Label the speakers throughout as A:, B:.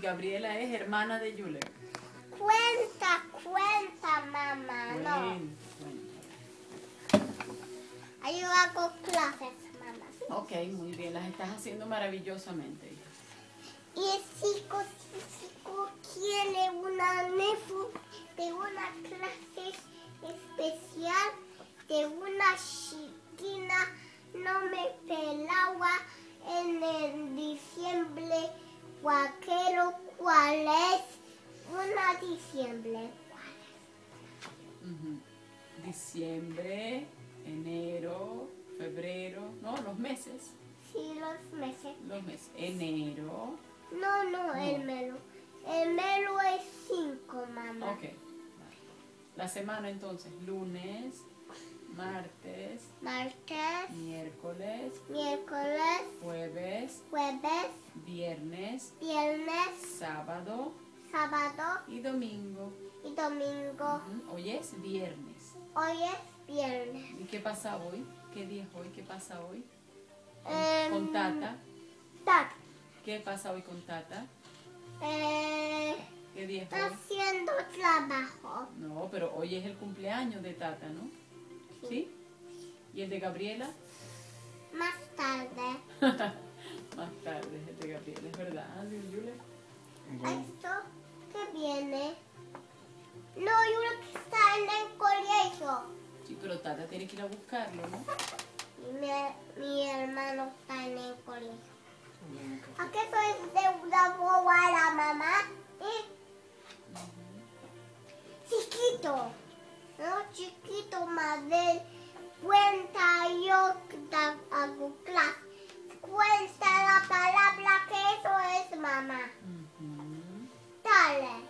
A: Gabriela es hermana de Yule.
B: Cuenta, cuenta, mamá. No.
A: Bueno, bueno.
B: Ahí yo hago clases, mamá.
A: Ok, muy bien, las estás haciendo maravillosamente.
B: Y el chico, el chico quiere una nefu de una clase especial de una chiquina no me pelaba en el diciembre guaquero cuál es una diciembre
A: Ujú. Diciembre, enero, febrero, no, los meses,
B: sí los meses
A: los meses. Enero,
B: no no el
A: No.
B: melo el melo es cinco mamá
A: ok. La semana entonces, lunes, martes,
B: martes
A: miércoles,
B: miércoles
A: jueves,
B: jueves
A: viernes,
B: viernes
A: sábado
B: sábado
A: y domingo.
B: y domingo
A: Ujú. Hoy es viernes.
B: hoy es viernes
A: ¿Y qué pasa hoy? ¿Qué día es hoy? ¿Qué pasa hoy?
B: Em,
A: Con Tata.
B: tac,
A: ¿Qué pasa hoy con Tata?
B: eh,
A: ¿Qué día es hoy?
B: haciendo trabajo
A: No, pero hoy es el cumpleaños de Tata, ¿no? ¿Sí? ¿Y el de Gabriela?
B: más tarde
A: Más tarde es el de Gabriela, es verdad, Ah, Liu Yule.
B: Esto que viene. No, yo creo que está en el colegio.
A: Sí, pero Tata tiene que ir a buscarlo, ¿no?
B: Y Mi, mi hermano está en el colegio. ¿A qué soy de una boba a la mamá? ¿Eh? Chiquito. No, chiquito, madre. Cuenta yo que da- hago clase. Cuenta la palabra que eso es mamá.
A: Ujú.
B: Dale.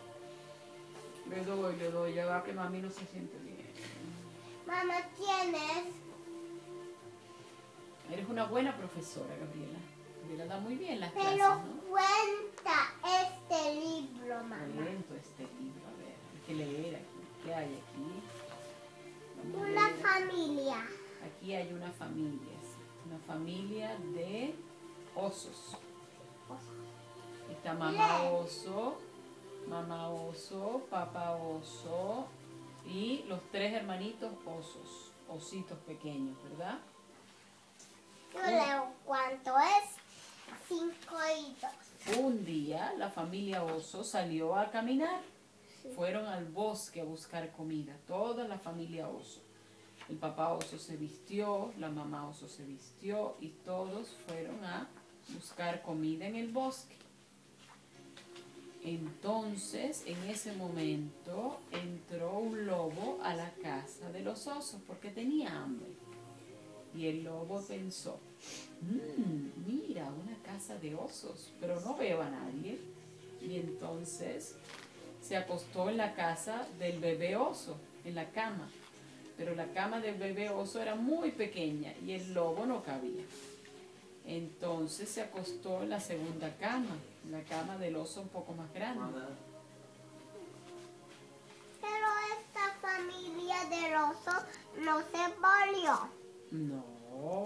A: Le doy, le doy, ya va que mami no se siente bien.
B: Mamá, ¿tienes?
A: Eres una buena profesora, Gabriela. Gabriela da muy bien las clases,
B: Pero
A: ¿no?
B: cuenta este libro, mamá.
A: Lento este libro, a ver, hay que leer aquí. ¿Qué hay aquí? Vamos a
B: Una
A: leer.
B: familia.
A: Aquí hay una familia, sí, una familia de osos. Está mamá
B: Bien.
A: oso, mamá oso, papá oso y los tres hermanitos osos, ositos pequeños, ¿verdad?
B: Yo leo cuánto es. Cinco y dos.
A: Un día la familia oso salió a caminar. Fueron al bosque a buscar comida, toda la familia oso. El papá oso se vistió, la mamá oso se vistió y todos fueron a buscar comida en el bosque. Entonces, en ese momento, entró un lobo a la casa de los osos porque tenía hambre. Y el lobo pensó, "Mm, mira, una casa de osos, pero no veo a nadie. Y entonces se acostó en la casa del bebé oso, en la cama. Pero la cama del bebé oso era muy pequeña y el lobo no cabía. Entonces se acostó en la segunda cama, en la cama del oso un poco más grande.
B: Pero esta familia del oso no se volvió.
A: No,